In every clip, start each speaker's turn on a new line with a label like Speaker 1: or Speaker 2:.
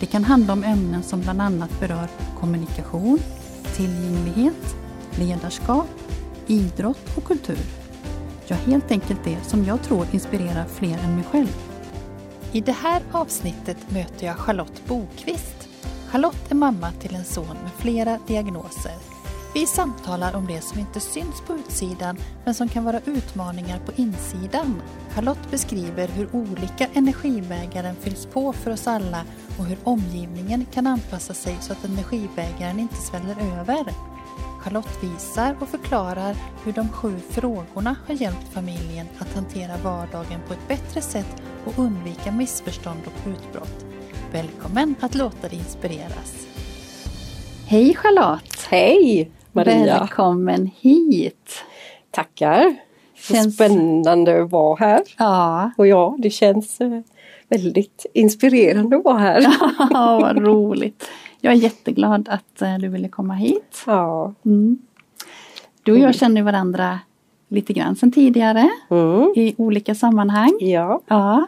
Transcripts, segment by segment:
Speaker 1: Det kan handla om ämnen som bland annat berör kommunikation, tillgänglighet, ledarskap, idrott och kultur. Ja, helt enkelt det som jag tror inspirerar fler än mig själv. I det här avsnittet möter jag Charlotte Bokvist. Charlotte är mamma till en son med flera diagnoser. Vi samtalar om det som inte syns på utsidan men som kan vara utmaningar på insidan. Charlotte beskriver hur olika energibägaren fylls på för oss alla och hur omgivningen kan anpassa sig så att energibägaren inte sväller över. Charlotte visar och förklarar hur de sju frågorna har hjälpt familjen att hantera vardagen på ett bättre sätt och undvika missförstånd och utbrott. Välkommen att låta dig inspireras! Hej Charlotte!
Speaker 2: Hej Maria!
Speaker 1: Välkommen hit!
Speaker 2: Tackar! Känns... Spännande att vara här.
Speaker 1: Ja,
Speaker 2: Och ja, det känns eh, väldigt inspirerande att vara här.
Speaker 1: ja vad roligt! Jag är jätteglad att eh, du ville komma hit.
Speaker 2: Ja.
Speaker 1: Mm. Du och jag känner varandra lite grann sedan tidigare
Speaker 2: Mm.
Speaker 1: i olika sammanhang.
Speaker 2: ja.
Speaker 1: Ja.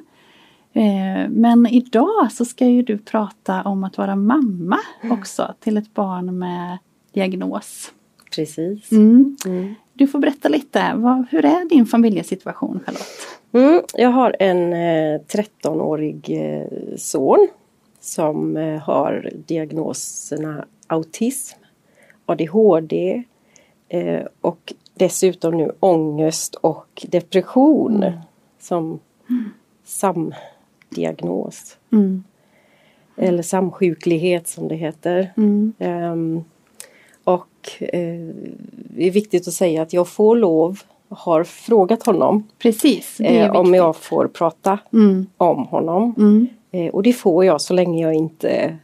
Speaker 1: Eh, Men idag så ska ju du prata om att vara mamma också till ett barn med diagnos.
Speaker 2: precis.
Speaker 1: Mm.
Speaker 2: Mm.
Speaker 1: Du får berätta lite, vad, hur är din familjesituation Charlotte?
Speaker 2: Mm. Jag har en eh, 13-årig eh, son som eh, har diagnoserna autism, ADHD eh, och dessutom nu ångest och depression
Speaker 1: Mm.
Speaker 2: som samdiagnos.
Speaker 1: Mm.
Speaker 2: Eller samsjuklighet som det heter.
Speaker 1: Mm.
Speaker 2: Ehm, och eh, det är viktigt att säga att jag får lov, har frågat honom
Speaker 1: Precis, det är
Speaker 2: eh, om
Speaker 1: viktigt.
Speaker 2: jag får prata
Speaker 1: Mm.
Speaker 2: om honom.
Speaker 1: Mm.
Speaker 2: Eh, och det får jag så länge jag inte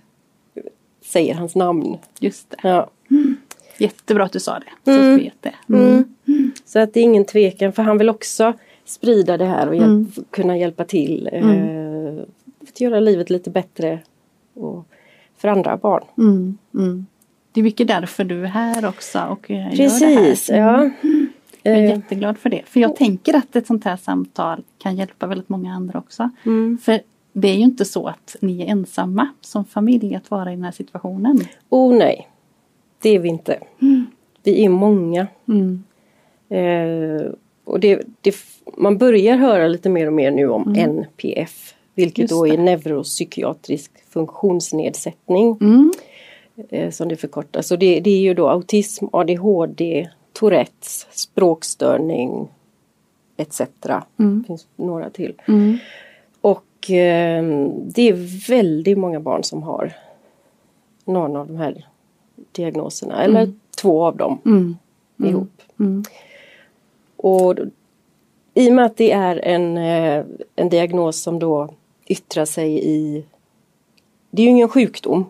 Speaker 2: säger hans namn.
Speaker 1: Just det.
Speaker 2: Ja.
Speaker 1: Jättebra att du sa det. Så
Speaker 2: Mm.
Speaker 1: att vi vet det. Mm.
Speaker 2: Så att det är ingen tvekan för han vill också sprida det här och hjälp,
Speaker 1: Mm.
Speaker 2: kunna hjälpa till. Eh, Att göra livet lite bättre och för andra barn.
Speaker 1: Mm. Mm. Det är mycket därför du är här också och eh, gör det här. Mm.
Speaker 2: Precis, ja.
Speaker 1: Jag är
Speaker 2: Eh,
Speaker 1: jätteglad för det. För jag tänker att ett sånt här samtal kan hjälpa väldigt många andra också.
Speaker 2: Mm.
Speaker 1: För det är ju inte så att ni är ensamma som familj att vara i den här situationen.
Speaker 2: Oh nej, det är vi inte. Vi är många.
Speaker 1: Mm.
Speaker 2: Eh, och det, det, man börjar höra lite mer och mer nu om NPF, vilket
Speaker 1: Mm. Just
Speaker 2: då
Speaker 1: det.
Speaker 2: är neuropsykiatrisk funktionsnedsättning
Speaker 1: Mm.
Speaker 2: eh, som det förkortas. Och det, det är ju då autism, ADHD, Tourettes, språkstörning etc.
Speaker 1: Mm.
Speaker 2: Det finns några till.
Speaker 1: Mm.
Speaker 2: Och eh, det är väldigt många barn som har någon av de här diagnoserna eller två av dem
Speaker 1: Mm.
Speaker 2: ihop.
Speaker 1: Mm.
Speaker 2: Och då- i och med att det är en, eh, en diagnos som då yttrar sig i Det är ju ingen sjukdom.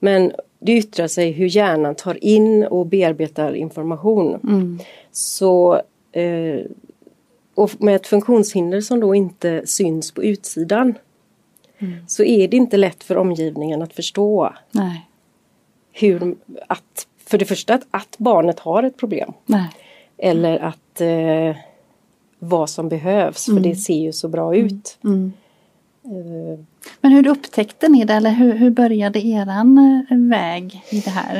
Speaker 2: Men det yttrar sig hur hjärnan tar in och bearbetar information.
Speaker 1: Mm.
Speaker 2: Så eh, och med ett funktionshinder som då inte syns på utsidan så är det inte lätt för omgivningen att förstå
Speaker 1: Nej.
Speaker 2: hur att för det första att, att barnet har ett problem
Speaker 1: Nej.
Speaker 2: eller att eh, vad som behövs för det ser ju så bra ut.
Speaker 1: Mm.
Speaker 2: Eh,
Speaker 1: Men hur upptäckte ni det eller hur, hur började eran eh, väg i det här?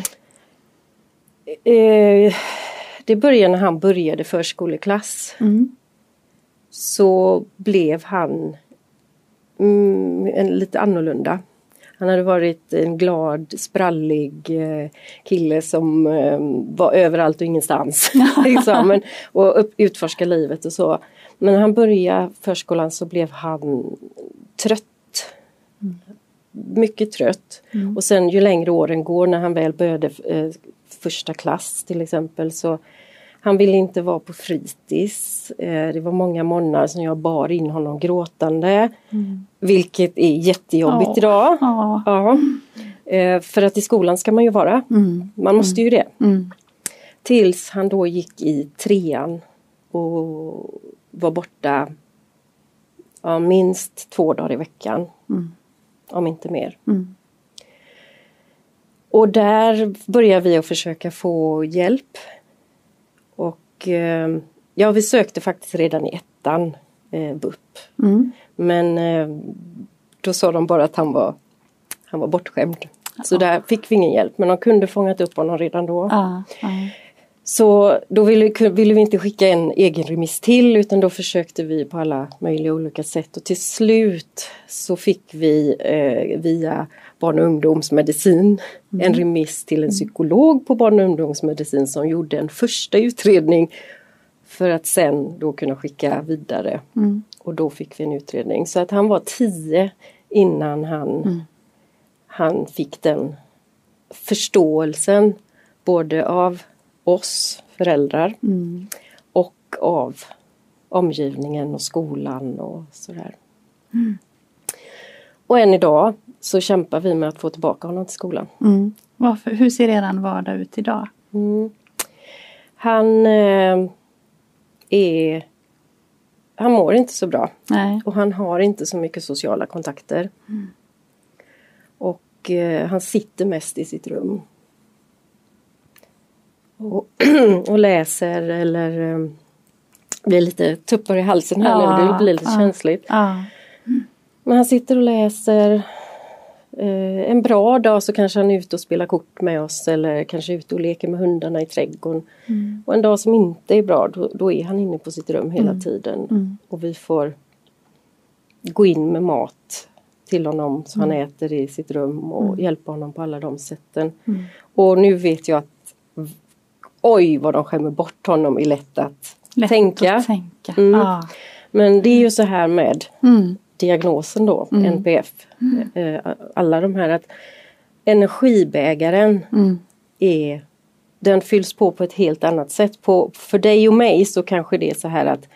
Speaker 2: eh, det började när han började förskoleklass
Speaker 1: Mm.
Speaker 2: så blev han mm, en, lite annorlunda. Han hade varit en glad, sprallig eh, kille som eh, var överallt och ingenstans. liksom, men, och upp, utforska livet och så. Men när han började förskolan så blev han trött. Mycket trött.
Speaker 1: Mm.
Speaker 2: Och sen ju längre åren går när han väl började eh, första klass till exempel så han ville inte vara på fritids. Eh, Det var många morgnar som jag bar in honom gråtande. Vilket är jättejobbigt
Speaker 1: Mm. Ja.
Speaker 2: idag.
Speaker 1: Ja.
Speaker 2: Ja. Eh, för att i skolan ska man ju vara.
Speaker 1: Mm.
Speaker 2: Man måste ju det.
Speaker 1: Mm.
Speaker 2: Tills han då gick i trean och var borta ja, minst två dagar i veckan.
Speaker 1: Mm.
Speaker 2: Om inte mer.
Speaker 1: Mm.
Speaker 2: Och där började vi att försöka få hjälp. Och eh, ja, vi sökte faktiskt redan i ettan eh, BUP.
Speaker 1: Mm.
Speaker 2: Men eh, då sa de bara att han var, han var bortskämd. Så där fick vi ingen hjälp men de kunde fångat upp honom redan då.
Speaker 1: Ja, ja.
Speaker 2: Så då ville, ku- ville vi inte skicka en egen remiss till utan då försökte vi på alla möjliga olika sätt och till slut så fick vi eh, via barn och ungdomsmedicin en remiss till en psykolog på barn och ungdomsmedicin som gjorde en första utredning för att sen då kunna skicka vidare.
Speaker 1: Mm.
Speaker 2: Och då fick vi en utredning så att han var 10 innan han, han fick den förståelsen både av oss föräldrar
Speaker 1: Mm.
Speaker 2: och av omgivningen och skolan och sådär.
Speaker 1: Mm.
Speaker 2: Och än idag så kämpar vi med att få tillbaka honom till skolan.
Speaker 1: Mm. Varför, hur ser eran vardag ut idag?
Speaker 2: Han eh, är... Han mår inte så bra.
Speaker 1: Nej.
Speaker 2: Och han har inte så mycket sociala kontakter.
Speaker 1: Mm.
Speaker 2: Och eh, han sitter mest i sitt rum. Och, och läser eller eh, blir lite tuppar i halsen här
Speaker 1: Ja,
Speaker 2: nu, det blir lite
Speaker 1: ja.
Speaker 2: känsligt.
Speaker 1: Ja.
Speaker 2: Men han sitter och läser. Eh, en bra dag så kanske han är ute och spelar kort med oss eller kanske ute och leker med hundarna i trädgården.
Speaker 1: Mm.
Speaker 2: Och en dag som inte är bra då, då är han inne på sitt rum hela tiden.
Speaker 1: Mm.
Speaker 2: Och vi får gå in med mat till honom så han
Speaker 1: Mm.
Speaker 2: äter i sitt rum och hjälpa honom på alla de sätten.
Speaker 1: Mm.
Speaker 2: Och nu vet jag att oj vad de skämmer bort honom i lätt att
Speaker 1: Lätt
Speaker 2: tänka.
Speaker 1: att tänka.
Speaker 2: Mm.
Speaker 1: Ja.
Speaker 2: Men det är ju så här med
Speaker 1: Mm.
Speaker 2: diagnosen då, NPF. eh, Alla de här att energibägaren
Speaker 1: Mm.
Speaker 2: är den fylls på på ett helt annat sätt. På, för dig och mig så kanske det är så här att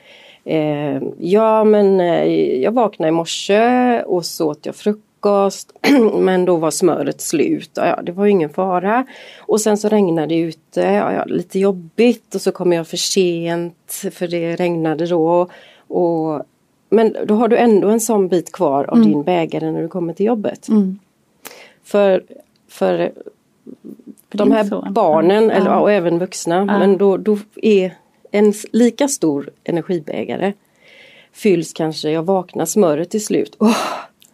Speaker 2: eh, Ja men eh, jag vaknade i morse och så åt jag frukost men då var smöret slut. Ja, ja, det var ju ingen fara. Och sen så regnade det ute, ja, ja, lite jobbigt och så kom jag för sent för det regnade då. Och, men då har du ändå en sån bit kvar av din bägare när du kommer till jobbet.
Speaker 1: Mm.
Speaker 2: För, för de
Speaker 1: din
Speaker 2: här
Speaker 1: son.
Speaker 2: barnen
Speaker 1: Ja.
Speaker 2: eller, ja, och även vuxna, men då, då är en s- lika stor energibägare fylls kanske, jag vaknar smöret till slut. Åh,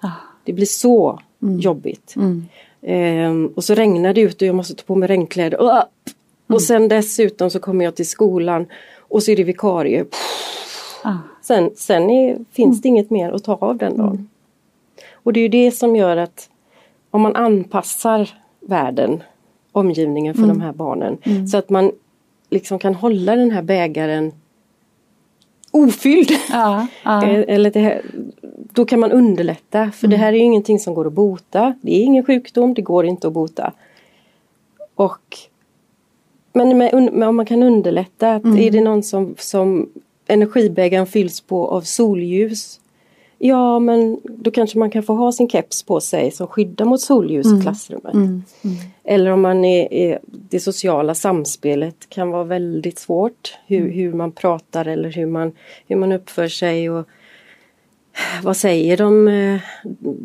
Speaker 1: Ja.
Speaker 2: det blir så jobbigt.
Speaker 1: Mm.
Speaker 2: Ehm, och så regnar det ute och jag måste ta på mig regnkläder. Åh!
Speaker 1: Mm.
Speaker 2: Och sen dessutom så kommer jag till skolan och så är det vikarie.
Speaker 1: Ja.
Speaker 2: Sen, sen är, finns det inget mer att ta av den dagen. Och det är ju det som gör att om man anpassar världen, omgivningen för de här barnen så att man liksom kan hålla den här bägaren ofylld.
Speaker 1: Ja. Ja.
Speaker 2: Eh, Eller det här, då kan man underlätta för det här är ju ingenting som går att bota. Det är ingen sjukdom, det går inte att bota. Och men med, un- men om man kan underlätta, att är det någon som, som energibägaren fylls på av solljus Ja men då kanske man kan få ha sin keps på sig som skyddar mot solljus i klassrummet. Eller om man är, är, det sociala samspelet kan vara väldigt svårt. Hur, hur man pratar eller hur man, hur man uppför sig. Och, vad säger de eh,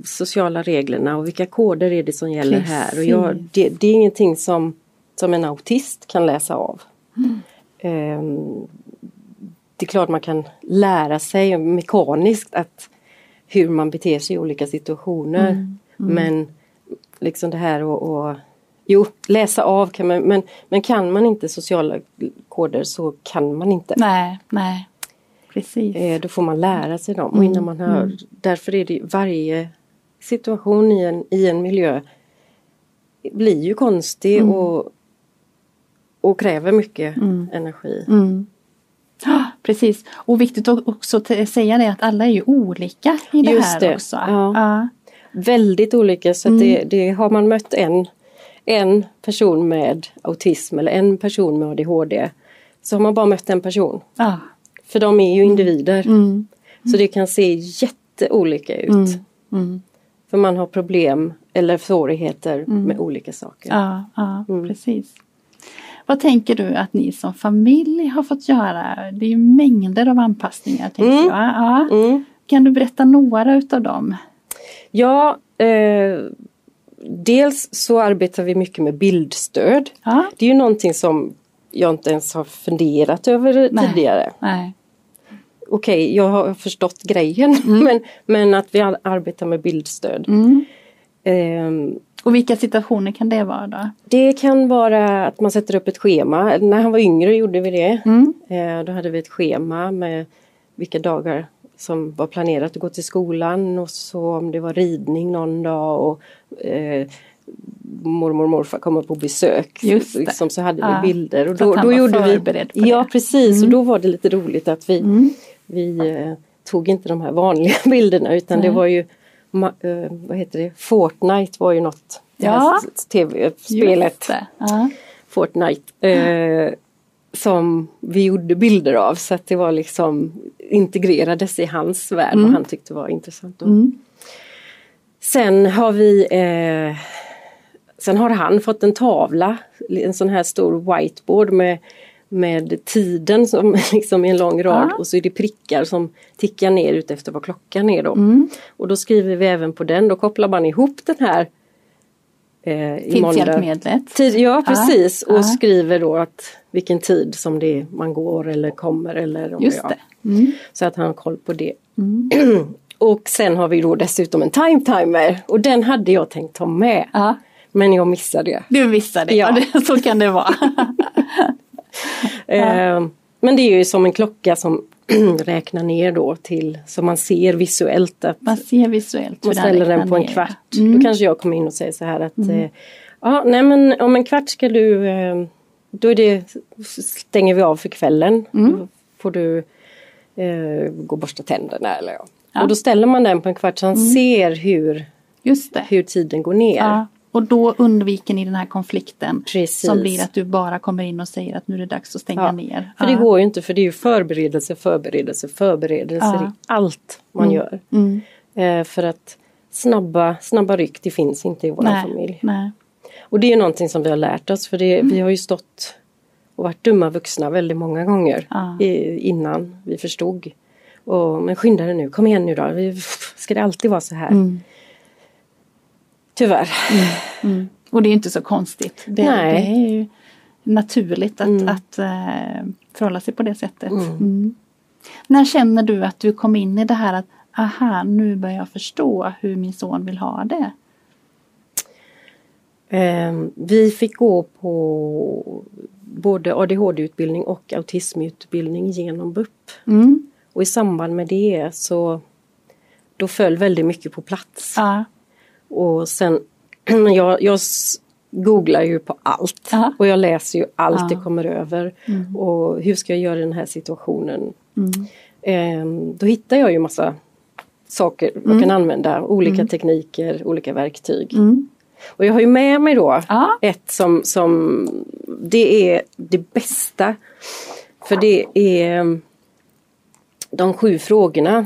Speaker 2: sociala reglerna och vilka koder är det som gäller här? Och jag,
Speaker 1: Precis.
Speaker 2: det, det är ingenting som, som en autist kan läsa av. Ehm, det är klart man kan lära sig mekaniskt att hur man beter sig i olika situationer. Men liksom det här och, och Jo, läsa av kan man, men, men kan man inte sociala koder så kan man inte.
Speaker 1: Nej, nej. Precis.
Speaker 2: Eh, Då får man lära sig dem och innan man har, därför är det ju varje situation i en, i en miljö blir ju konstig och, och kräver mycket energi.
Speaker 1: Mm. Ah, Precis. Och viktigt att också t- säga det att alla är ju olika i det
Speaker 2: Just
Speaker 1: här
Speaker 2: det.
Speaker 1: också.
Speaker 2: Ja.
Speaker 1: Ja.
Speaker 2: Väldigt olika så att
Speaker 1: Mm.
Speaker 2: det, det, har man mött en, en person med autism eller en person med ADHD så har man bara mött en person.
Speaker 1: Ja.
Speaker 2: För de är ju individer.
Speaker 1: Mm.
Speaker 2: Så det kan se jätteolika ut.
Speaker 1: Mm.
Speaker 2: För man har problem eller svårigheter med olika saker.
Speaker 1: Ja, ja
Speaker 2: Mm.
Speaker 1: precis. Vad tänker du att ni som familj har fått göra? Det är ju mängder av anpassningar tänker
Speaker 2: Mm.
Speaker 1: jag. Ja.
Speaker 2: Mm.
Speaker 1: Kan du berätta några utav dem?
Speaker 2: Ja, eh, dels så arbetar vi mycket med bildstöd.
Speaker 1: Ja.
Speaker 2: Det är ju någonting som jag inte ens har funderat över
Speaker 1: Nej.
Speaker 2: tidigare.
Speaker 1: Nej.
Speaker 2: Okej, jag har förstått grejen men, men att vi ar- arbetar med bildstöd.
Speaker 1: Mm.
Speaker 2: Ehm,
Speaker 1: Och vilka situationer kan det vara då?
Speaker 2: det kan vara att man sätter upp ett schema. När han var yngre gjorde vi det.
Speaker 1: Mm.
Speaker 2: Eh, Då hade vi ett schema med vilka dagar som var planerat att gå till skolan och så om det var ridning någon dag och eh, mormor och morfar kommer på besök.
Speaker 1: Just det.
Speaker 2: Liksom, så hade vi
Speaker 1: Ja.
Speaker 2: bilder. Och
Speaker 1: Så att han var förberedd på det. Mm.
Speaker 2: Ja precis och då var det lite roligt att vi, vi eh, tog inte de här vanliga bilderna utan det var ju ma- eh, vad heter det? Fortnite var ju något eh, det här
Speaker 1: Ja.
Speaker 2: s- tv-spelet.
Speaker 1: Just det. Ja.
Speaker 2: Fortnite. Eh, som vi gjorde bilder av så att det var liksom integrerades i hans värld och han tyckte var intressant. då.
Speaker 1: Mm.
Speaker 2: Sen har vi eh, Sen har han fått en tavla, en sån här stor whiteboard med, med tiden som liksom i en lång rad
Speaker 1: Ja.
Speaker 2: och så är det prickar som tickar ner utefter vad klockan är då.
Speaker 1: Mm.
Speaker 2: Och då skriver vi även på den, då kopplar man ihop den här eh, i måndag.
Speaker 1: Tidshjälpmedlet.
Speaker 2: Tid, ja precis
Speaker 1: ja.
Speaker 2: och skriver då att vilken tid som det är man går eller kommer eller om
Speaker 1: Just
Speaker 2: ja.
Speaker 1: det. Mm.
Speaker 2: Så att han har koll på det. och sen har vi då dessutom en time timer och den hade jag tänkt ta med.
Speaker 1: Ja.
Speaker 2: Men jag missade det.
Speaker 1: Du missade det, ja.
Speaker 2: Ja.
Speaker 1: det- så kan det vara.
Speaker 2: Eh, men det är ju som en klocka som räknar ner då till så man ser visuellt att
Speaker 1: Man ser visuellt hur
Speaker 2: man
Speaker 1: den Mm.
Speaker 2: ställer den
Speaker 1: räknar
Speaker 2: på en
Speaker 1: ner.
Speaker 2: kvart. Då kanske jag kommer in och säger så här att eh, ja, nej men om en kvart ska du eh, då är det, stänger vi av för kvällen.
Speaker 1: Mm.
Speaker 2: Då får du eh, gå och borsta tänderna eller ja.
Speaker 1: Ja.
Speaker 2: Och då ställer man den på en kvart så han ser hur,
Speaker 1: Just det.
Speaker 2: hur tiden går ner.
Speaker 1: Ja. Och då undviker ni den här konflikten
Speaker 2: Precis.
Speaker 1: som blir att du bara kommer in och säger att nu är det dags att stänga
Speaker 2: Ja,
Speaker 1: ner.
Speaker 2: För
Speaker 1: Ja.
Speaker 2: det går ju inte för det är ju förberedelse, förberedelse, förberedelse
Speaker 1: Ja.
Speaker 2: i allt man gör.
Speaker 1: Mm.
Speaker 2: Eh, för att snabba, snabba ryck det finns inte i vår
Speaker 1: Nej,
Speaker 2: familj.
Speaker 1: nej.
Speaker 2: Och det är någonting som vi har lärt oss för det, vi har ju stått och varit dumma vuxna väldigt många gånger
Speaker 1: Ja.
Speaker 2: i, innan vi förstod. Och, men skynda dig nu, kom igen nu då, vi, ska det alltid vara så här? Tyvärr.
Speaker 1: Mm. Och det är inte så konstigt. Det,
Speaker 2: Nej. Mm.
Speaker 1: det är ju naturligt att, att eh, förhålla sig på det sättet. Mm. När känner du att du kom in i det här att aha, nu börjar jag förstå hur min son vill ha det?
Speaker 2: Ehm, vi fick gå på både ADHD-utbildning och autismutbildning genom BUP.
Speaker 1: Mm.
Speaker 2: Och i samband med det så då föll väldigt mycket på plats.
Speaker 1: Ja.
Speaker 2: Och sen, jag, jag s- googlar ju på allt
Speaker 1: Ja.
Speaker 2: och jag läser ju allt
Speaker 1: Ja.
Speaker 2: det kommer över. Och hur ska jag göra i den här situationen?
Speaker 1: Mm.
Speaker 2: Ehm, då hittar jag ju massa saker jag kan använda, olika tekniker, olika verktyg.
Speaker 1: Mm.
Speaker 2: Och jag har ju med mig då
Speaker 1: Ja.
Speaker 2: ett som, som det är det bästa. För det är um, de sju frågorna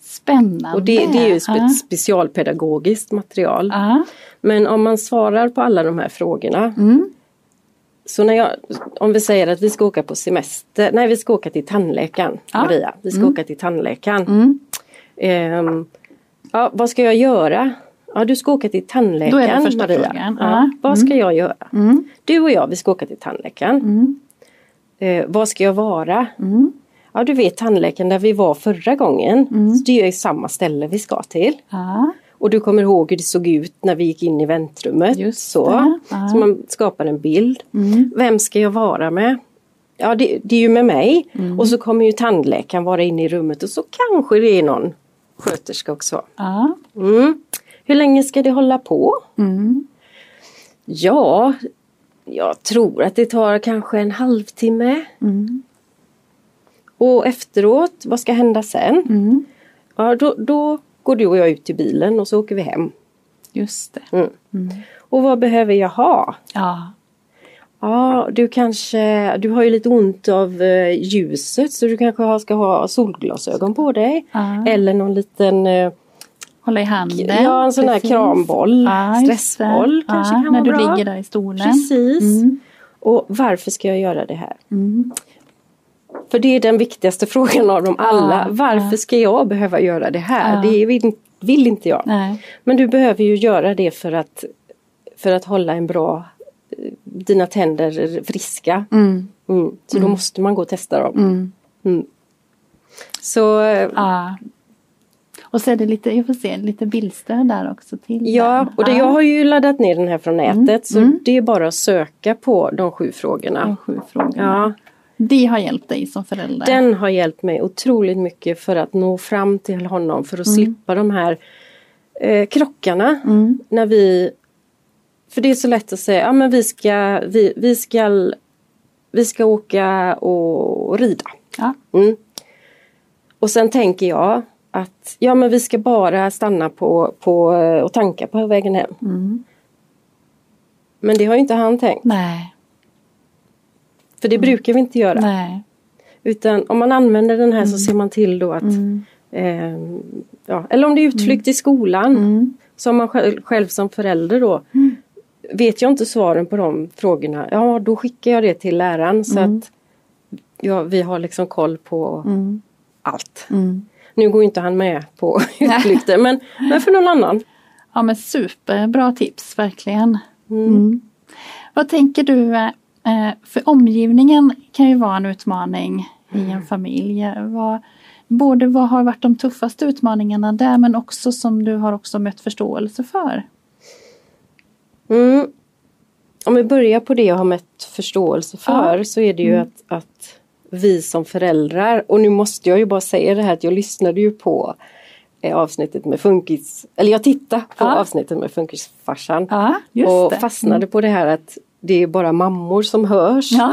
Speaker 1: Spännande!
Speaker 2: och det, det är ju spe,
Speaker 1: ja.
Speaker 2: specialpedagogiskt material.
Speaker 1: Ja.
Speaker 2: Men om man svarar på alla de här frågorna.
Speaker 1: Mm.
Speaker 2: Så när jag, om vi säger att vi ska åka på semester, nej vi ska åka till tandläkaren
Speaker 1: Ja.
Speaker 2: Maria, vi ska åka till tandläkaren.
Speaker 1: Mm.
Speaker 2: Ehm, ja, vad ska jag göra? Ja, du ska åka till tandläkaren
Speaker 1: Då är det första
Speaker 2: Maria.
Speaker 1: frågan.
Speaker 2: Ja.
Speaker 1: Ja.
Speaker 2: Vad ska jag göra?
Speaker 1: Mm.
Speaker 2: Du och jag, vi ska åka till tandläkaren.
Speaker 1: Mm.
Speaker 2: Eh, vad ska jag vara?
Speaker 1: Mm.
Speaker 2: Ja, du vet tandläkaren där vi var förra gången. Så det är ju samma ställe vi ska till.
Speaker 1: Ja.
Speaker 2: Och du kommer ihåg hur det såg ut när vi gick in i väntrummet.
Speaker 1: Just
Speaker 2: så.
Speaker 1: det, ja.
Speaker 2: så man skapar en bild.
Speaker 1: Mm.
Speaker 2: Vem ska jag vara med? Ja det, det är ju med mig
Speaker 1: Mm.
Speaker 2: och så kommer ju tandläkaren vara inne i rummet och så kanske det är någon sköterska också.
Speaker 1: Ja.
Speaker 2: Mm. Hur länge ska det hålla på?
Speaker 1: Mm.
Speaker 2: Ja, jag tror att det tar kanske en halvtimme.
Speaker 1: Mm.
Speaker 2: Och efteråt, vad ska hända sen?
Speaker 1: Mm.
Speaker 2: Ja, då, då går du och jag ut till bilen och så åker vi hem.
Speaker 1: Just det.
Speaker 2: Mm. Och vad behöver jag ha?
Speaker 1: Ja.
Speaker 2: Ja, du kanske, du har ju lite ont av eh, ljuset så du kanske har, ska ha solglasögon på dig.
Speaker 1: Ja.
Speaker 2: Eller någon liten eh,
Speaker 1: Hålla i handen.
Speaker 2: Ja, en sån här
Speaker 1: precis.
Speaker 2: kramboll,
Speaker 1: Ja, just det.
Speaker 2: stressboll kanske
Speaker 1: ja,
Speaker 2: kan
Speaker 1: När
Speaker 2: vara
Speaker 1: du
Speaker 2: bra.
Speaker 1: ligger där i stolen.
Speaker 2: Precis.
Speaker 1: Mm.
Speaker 2: Och varför ska jag göra det här?
Speaker 1: Mm.
Speaker 2: För det är den viktigaste frågan av dem alla.
Speaker 1: Ja,
Speaker 2: Varför ska jag behöva göra det här?
Speaker 1: Ja.
Speaker 2: Det vill, vill inte jag.
Speaker 1: Nej.
Speaker 2: Men du behöver ju göra det för att, för att hålla en bra eh, dina tänder friska.
Speaker 1: Mm.
Speaker 2: Mm. Så då måste man gå och testa dem.
Speaker 1: Mm.
Speaker 2: Mm. Så eh,
Speaker 1: Ja. Och så är det lite, jag får se, lite bildstöd där också till
Speaker 2: ja,
Speaker 1: den.
Speaker 2: och det, jag har ju laddat ner den här från nätet så
Speaker 1: Mm.
Speaker 2: det är bara att söka på de sju frågorna.
Speaker 1: De sju frågorna.
Speaker 2: Ja,
Speaker 1: Det har hjälpt dig som förälder.
Speaker 2: den har hjälpt mig otroligt mycket för att nå fram till honom för att slippa de här eh, krockarna
Speaker 1: Mm.
Speaker 2: när vi För det är så lätt att säga, ja men vi ska, vi, vi ska, vi ska åka och, och rida.
Speaker 1: Ja.
Speaker 2: Mm. Och sen tänker jag att ja men vi ska bara stanna på, på eh, och tanka på vägen hem.
Speaker 1: Mm.
Speaker 2: Men det har ju inte han tänkt.
Speaker 1: Nej.
Speaker 2: För det brukar vi inte göra.
Speaker 1: Nej.
Speaker 2: Utan om man använder den här så ser man till då att
Speaker 1: Mm.
Speaker 2: eh, ja, Eller om det är utflykt i skolan.
Speaker 1: Mm.
Speaker 2: Så om man själv, själv som förälder då Vet jag inte svaren på de frågorna, ja då skickar jag det till läraren så att ja, vi har liksom koll på
Speaker 1: Mm.
Speaker 2: allt.
Speaker 1: Mm.
Speaker 2: Nu går ju inte han med på utflykter men, men för någon annan.
Speaker 1: Ja men superbra tips, verkligen.
Speaker 2: Mm.
Speaker 1: Mm. Vad tänker du, eh, för omgivningen kan ju vara en utmaning i
Speaker 2: Mm.
Speaker 1: en familj. Vad, både vad har varit de tuffaste utmaningarna där men också som du har också mött förståelse för?
Speaker 2: Mm. Om vi börjar på det jag har mött förståelse för så är det ju
Speaker 1: Mm.
Speaker 2: att, att vi som föräldrar, och nu måste jag ju bara säga det här att jag lyssnade ju på eh, avsnittet med funkis, eller jag tittade på
Speaker 1: Ja.
Speaker 2: avsnittet med funkisfarsan
Speaker 1: Ja, just
Speaker 2: och
Speaker 1: det. Mm.
Speaker 2: fastnade på det här att det är bara mammor som hörs.
Speaker 1: Ja.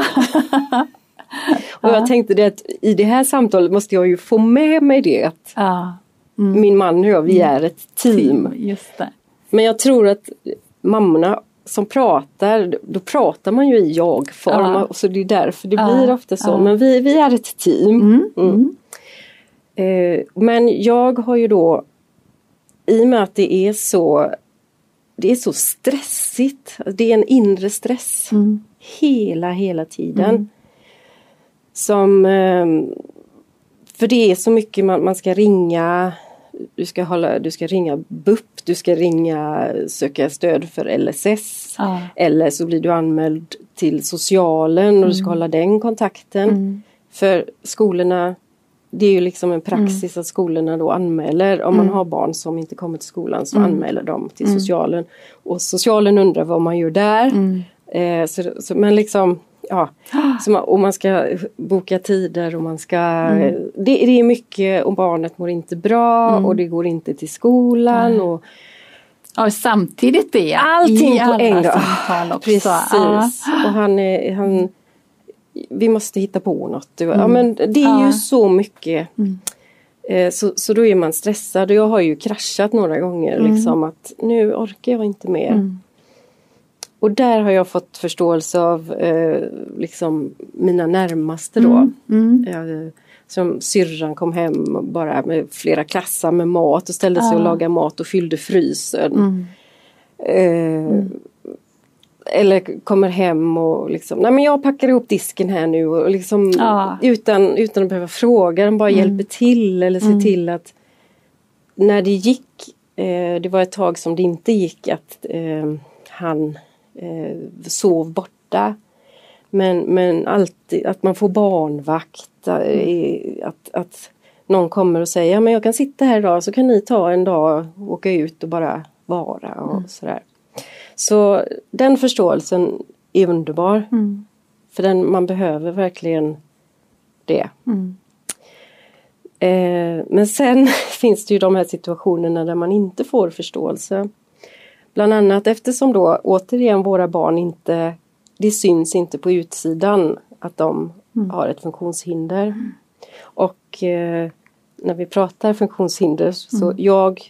Speaker 2: Och jag tänkte det att i det här samtalet måste jag ju få med mig det att
Speaker 1: ja. Mm.
Speaker 2: min man och jag, vi är ett team.
Speaker 1: Just det.
Speaker 2: Men jag tror att mammorna som pratar, då pratar man ju i jag-form
Speaker 1: Ja.
Speaker 2: och så det är därför det
Speaker 1: Ja,
Speaker 2: blir ofta så.
Speaker 1: ja.
Speaker 2: Men vi, vi är ett team.
Speaker 1: Mm.
Speaker 2: Mm. Eh, men jag har ju då i och med att det är så det är så stressigt, det är en inre stress
Speaker 1: Mm.
Speaker 2: liksom hela, hela tiden. Som ehm, För det är så mycket man, man ska ringa du ska, hålla, du ska ringa BUP, du ska ringa söka stöd för LSS
Speaker 1: Ja.
Speaker 2: eller så blir du anmäld till socialen och du ska hålla den kontakten.
Speaker 1: Mm.
Speaker 2: För skolorna det är ju liksom en praxis att skolorna då anmäler om man har barn som inte kommer till skolan så anmäler de till socialen. Och socialen undrar vad man gör där. Eh, så, så, men liksom ja, så man, och man ska boka tider och man ska det, det är mycket och barnet mår inte bra och det går inte till skolan. Och,
Speaker 1: Ja, och samtidigt det.
Speaker 2: Allting
Speaker 1: i
Speaker 2: på
Speaker 1: alla
Speaker 2: en gång.
Speaker 1: samtal också.
Speaker 2: Precis.
Speaker 1: Ja.
Speaker 2: Och han, är- han, vi måste hitta på något. Du- Ja, men det är
Speaker 1: Mm. Ja. Mm.
Speaker 2: ju så mycket. Eh, Så, så då är man stressad och jag har ju kraschat några gånger
Speaker 1: Mm.
Speaker 2: liksom att nu orkar jag inte mer. Och där har jag fått förståelse av eh, liksom mina närmaste då.
Speaker 1: Mm.
Speaker 2: Eh, Som syrran kom hem och bara med flera klassar med mat och ställde sig och lagade mat och fyllde frysen. Eh, Eller kommer hem och liksom, nej men jag packar ihop disken här nu och liksom
Speaker 1: Ja.
Speaker 2: utan, utan att behöva fråga, den bara hjälper till eller ser till att när det gick, eh, det var ett tag som det inte gick att eh, han eh, sov borta. Men, men alltid att man får barnvakt, eh, att, att någon kommer och säger ja men jag kan sitta här idag så kan ni ta en dag och åka ut och bara vara och sådär. Så den förståelsen är underbar.
Speaker 1: Mm.
Speaker 2: För den, man behöver verkligen det.
Speaker 1: Mm.
Speaker 2: Eh, men sen finns det ju de här situationerna där man inte får förståelse. Bland annat eftersom då återigen våra barn inte, det syns inte på utsidan att de har ett funktionshinder. Och eh, när vi pratar funktionshinder så jag,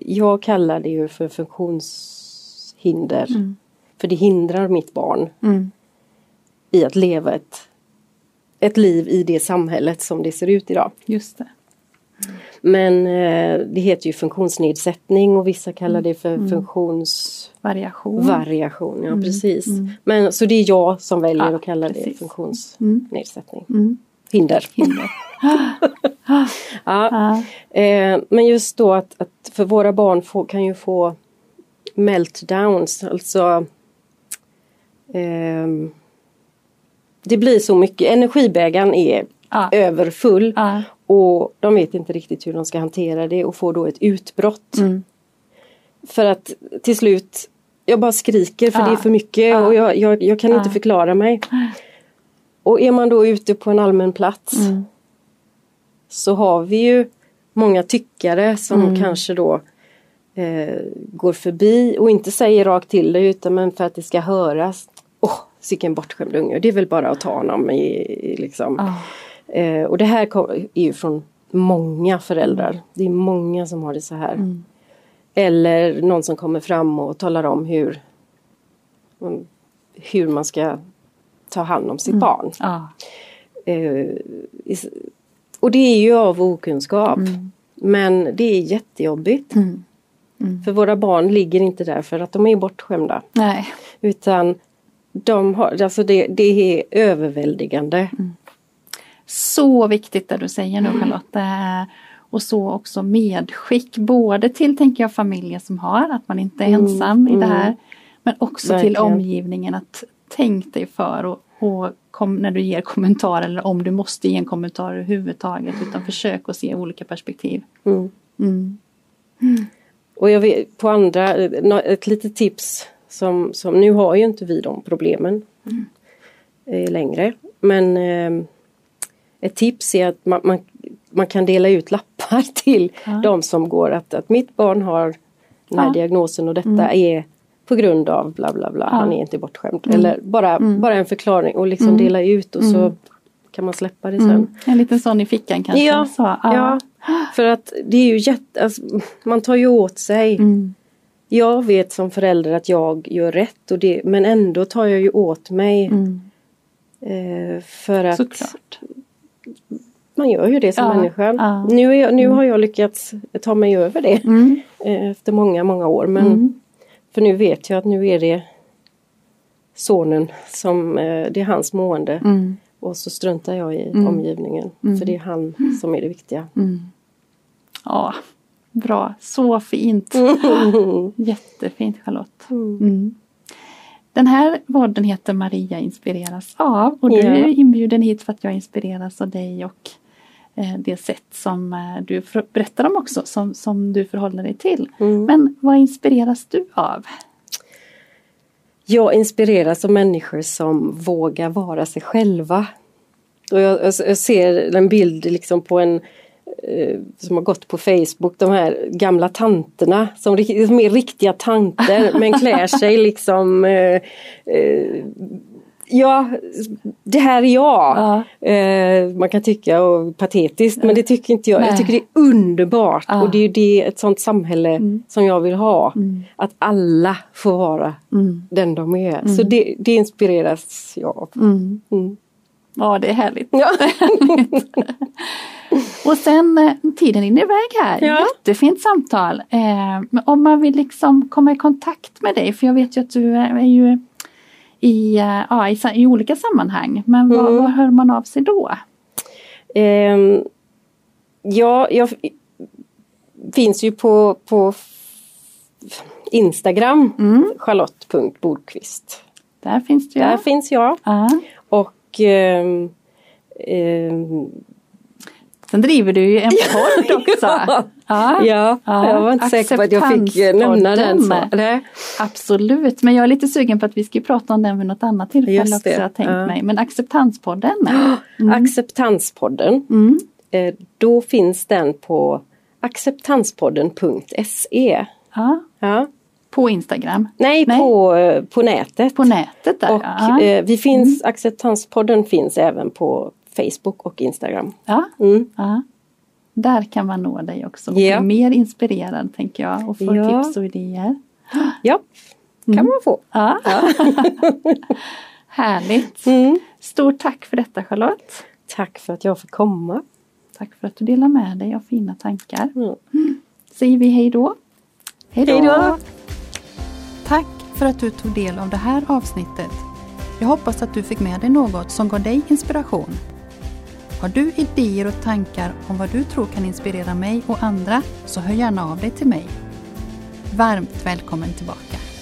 Speaker 2: jag kallar det ju för funktionshinder. För det hindrar mitt barn
Speaker 1: Mm.
Speaker 2: i att leva ett, ett liv i det samhället som det ser ut idag.
Speaker 1: Just det.
Speaker 2: Men eh, det heter ju funktionsnedsättning och vissa kallar det
Speaker 1: Mm.
Speaker 2: för funktions...
Speaker 1: Variation.
Speaker 2: Variation, ja precis. Men, så det är jag som väljer
Speaker 1: Mm. Ja,
Speaker 2: att kalla det
Speaker 1: precis.
Speaker 2: funktionsnedsättning.
Speaker 1: Mm.
Speaker 2: Hinder. ja.
Speaker 1: Ja.
Speaker 2: eh, men just då att, att för våra barn få, kan ju få meltdowns, alltså ehm, Det blir så mycket, energibägaren är
Speaker 1: Ja.
Speaker 2: överfull
Speaker 1: Ja.
Speaker 2: och de vet inte riktigt hur de ska hantera det och får då ett utbrott.
Speaker 1: Mm.
Speaker 2: För att till slut Jag bara skriker för
Speaker 1: Ja.
Speaker 2: det är för mycket
Speaker 1: Ja.
Speaker 2: och jag, jag, jag kan
Speaker 1: Ja.
Speaker 2: inte förklara mig. Och är man då ute på en allmän plats
Speaker 1: Mm.
Speaker 2: så har vi ju många tyckare som
Speaker 1: Mm.
Speaker 2: kanske då eh, går förbi och inte säger rakt till dig utan men för att det ska höras. Åh, oh, sicken bortskämd unge, det är väl bara att ta honom i, i liksom.
Speaker 1: Ja.
Speaker 2: Eh, och det här kom, är ju från många föräldrar. Det är många som har det så här.
Speaker 1: Mm.
Speaker 2: Eller någon som kommer fram och talar om hur om hur man ska ta hand om sitt
Speaker 1: Mm.
Speaker 2: barn.
Speaker 1: Ja.
Speaker 2: Eh, is- och det är ju av okunskap. Men det är jättejobbigt.
Speaker 1: Mm.
Speaker 2: För våra barn ligger inte där för att de är bortskämda.
Speaker 1: Nej.
Speaker 2: Utan de har, alltså det, det är överväldigande.
Speaker 1: Så viktigt det du säger nu Charlotte. Det är- Och så också medskick både till tänker jag familjer som har att man inte är ensam i det här. Men också till
Speaker 2: Verkligen.
Speaker 1: omgivningen att tänk dig för och, och kom, när du ger kommentarer eller om du måste ge en kommentar överhuvudtaget utan försök att se olika perspektiv.
Speaker 2: Mm.
Speaker 1: Mm.
Speaker 2: Och jag vet, på andra, eh, nå- ett litet tips som, som nu har ju inte vi de problemen
Speaker 1: Mm.
Speaker 2: eh, längre. Men eh, ett tips är att man, man, man kan dela ut lappar till
Speaker 1: Ja.
Speaker 2: de som går att, att mitt barn har den här
Speaker 1: Ja. Mm.
Speaker 2: diagnosen och detta är på grund av bla bla bla,
Speaker 1: Ja. Mm.
Speaker 2: han är inte bortskämd. Eller bara, bara en förklaring och liksom dela ut och så kan man släppa det sen.
Speaker 1: Mm. En liten sån i fickan kanske.
Speaker 2: Ja,
Speaker 1: Så, ja.
Speaker 2: ja, för att det är ju jätte, alltså, man tar ju åt sig.
Speaker 1: Mm.
Speaker 2: Jag vet som förälder att jag gör rätt och det, men ändå tar jag ju åt mig.
Speaker 1: Mm.
Speaker 2: Eh, för att
Speaker 1: Såklart.
Speaker 2: man gör ju det som
Speaker 1: Ja,
Speaker 2: människa.
Speaker 1: ja.
Speaker 2: Nu, är jag, nu har jag lyckats ta mig över det
Speaker 1: Mm.
Speaker 2: eh, efter många, många år. Men, För nu vet jag att nu är det sonen som, eh, det är hans mående.
Speaker 1: Mm.
Speaker 2: Och så struntar jag i
Speaker 1: Mm.
Speaker 2: omgivningen. För det är han som är det viktiga.
Speaker 1: Mm. Ja, bra. Så fint. Jättefint Charlotte. Mm. Den här podden heter Maria inspireras av och du
Speaker 2: Ja.
Speaker 1: är inbjuden hit för att jag inspireras av dig och eh, det sätt som eh, du för- berättar om också som, som du förhåller dig till.
Speaker 2: Mm.
Speaker 1: Men vad inspireras du av?
Speaker 2: Jag inspireras av människor som vågar vara sig själva. Och jag, jag, jag ser en bild liksom på en eh, som har gått på Facebook, de här gamla tanterna som, ri- som är riktiga tanter men klär sig liksom eh, eh, Ja, det här är jag! Eh, man kan tycka och patetiskt men det tycker inte jag.
Speaker 1: Nej.
Speaker 2: Jag tycker det är underbart
Speaker 1: Ja.
Speaker 2: och det är ju det, ett sånt samhälle
Speaker 1: Mm.
Speaker 2: som jag vill ha. Att alla får vara
Speaker 1: Mm.
Speaker 2: den de är. Så det, det inspireras jag av.
Speaker 1: Mm.
Speaker 2: Mm.
Speaker 1: Ja, det är härligt.
Speaker 2: Ja.
Speaker 1: Och sen eh, tiden rinner iväg här.
Speaker 2: Ja.
Speaker 1: Jättefint samtal. Eh, men om man vill liksom komma i kontakt med dig, för jag vet ju att du är är ju i, eh, ja, i, sa- i olika sammanhang. Men vad,
Speaker 2: Mm.
Speaker 1: vad hör man av sig då?
Speaker 2: Ehm, ja, jag f- finns ju på, på f- Instagram,
Speaker 1: Mm.
Speaker 2: charlotte.bordqvist.
Speaker 1: Där finns du
Speaker 2: Där
Speaker 1: ju.
Speaker 2: finns jag.
Speaker 1: Ja.
Speaker 2: Och ehm, ehm,
Speaker 1: Sen driver du ju en podd också. Ja.
Speaker 2: ja,
Speaker 1: Ja,
Speaker 2: jag var inte säker på att jag fick eh, nämna den. Så.
Speaker 1: Ah. acceptanspodden.
Speaker 2: Nej.
Speaker 1: Absolut, men jag är lite sugen på att vi ska prata om den vid något annat tillfälle
Speaker 2: Just
Speaker 1: också.
Speaker 2: det.
Speaker 1: Jag har tänkt
Speaker 2: Ja.
Speaker 1: mig. Men acceptanspodden.
Speaker 2: Acceptanspodden,
Speaker 1: Mm.
Speaker 2: eh, då finns den på acceptanspodden.se.
Speaker 1: Ja.
Speaker 2: Ja.
Speaker 1: På Instagram.
Speaker 2: Nej,
Speaker 1: Nej.
Speaker 2: På, eh, på nätet.
Speaker 1: På nätet där.
Speaker 2: och
Speaker 1: ja. Mm.
Speaker 2: eh, vi finns, Acceptanspodden finns även på Facebook och Instagram.
Speaker 1: Ja.
Speaker 2: Mm.
Speaker 1: Ja. Där kan man nå dig också och
Speaker 2: Ja.
Speaker 1: bli mer inspirerad tänker jag och få
Speaker 2: Ja.
Speaker 1: tips och idéer.
Speaker 2: Ja,
Speaker 1: Mm.
Speaker 2: kan man få.
Speaker 1: Ja. Härligt!
Speaker 2: Mm.
Speaker 1: Mm. Stort tack för detta Charlotte!
Speaker 2: Tack för att jag fick komma.
Speaker 1: Tack Tack för att du delar med dig av fina tankar.
Speaker 2: Mm.
Speaker 1: Säger vi hej då. Hej
Speaker 2: Hej då!
Speaker 1: Tack för att du tog del av det här avsnittet. Jag hoppas att du fick med dig något som gav dig inspiration. Har du idéer och tankar om vad du tror kan inspirera mig och andra så hör gärna av dig till mig. Varmt välkommen tillbaka!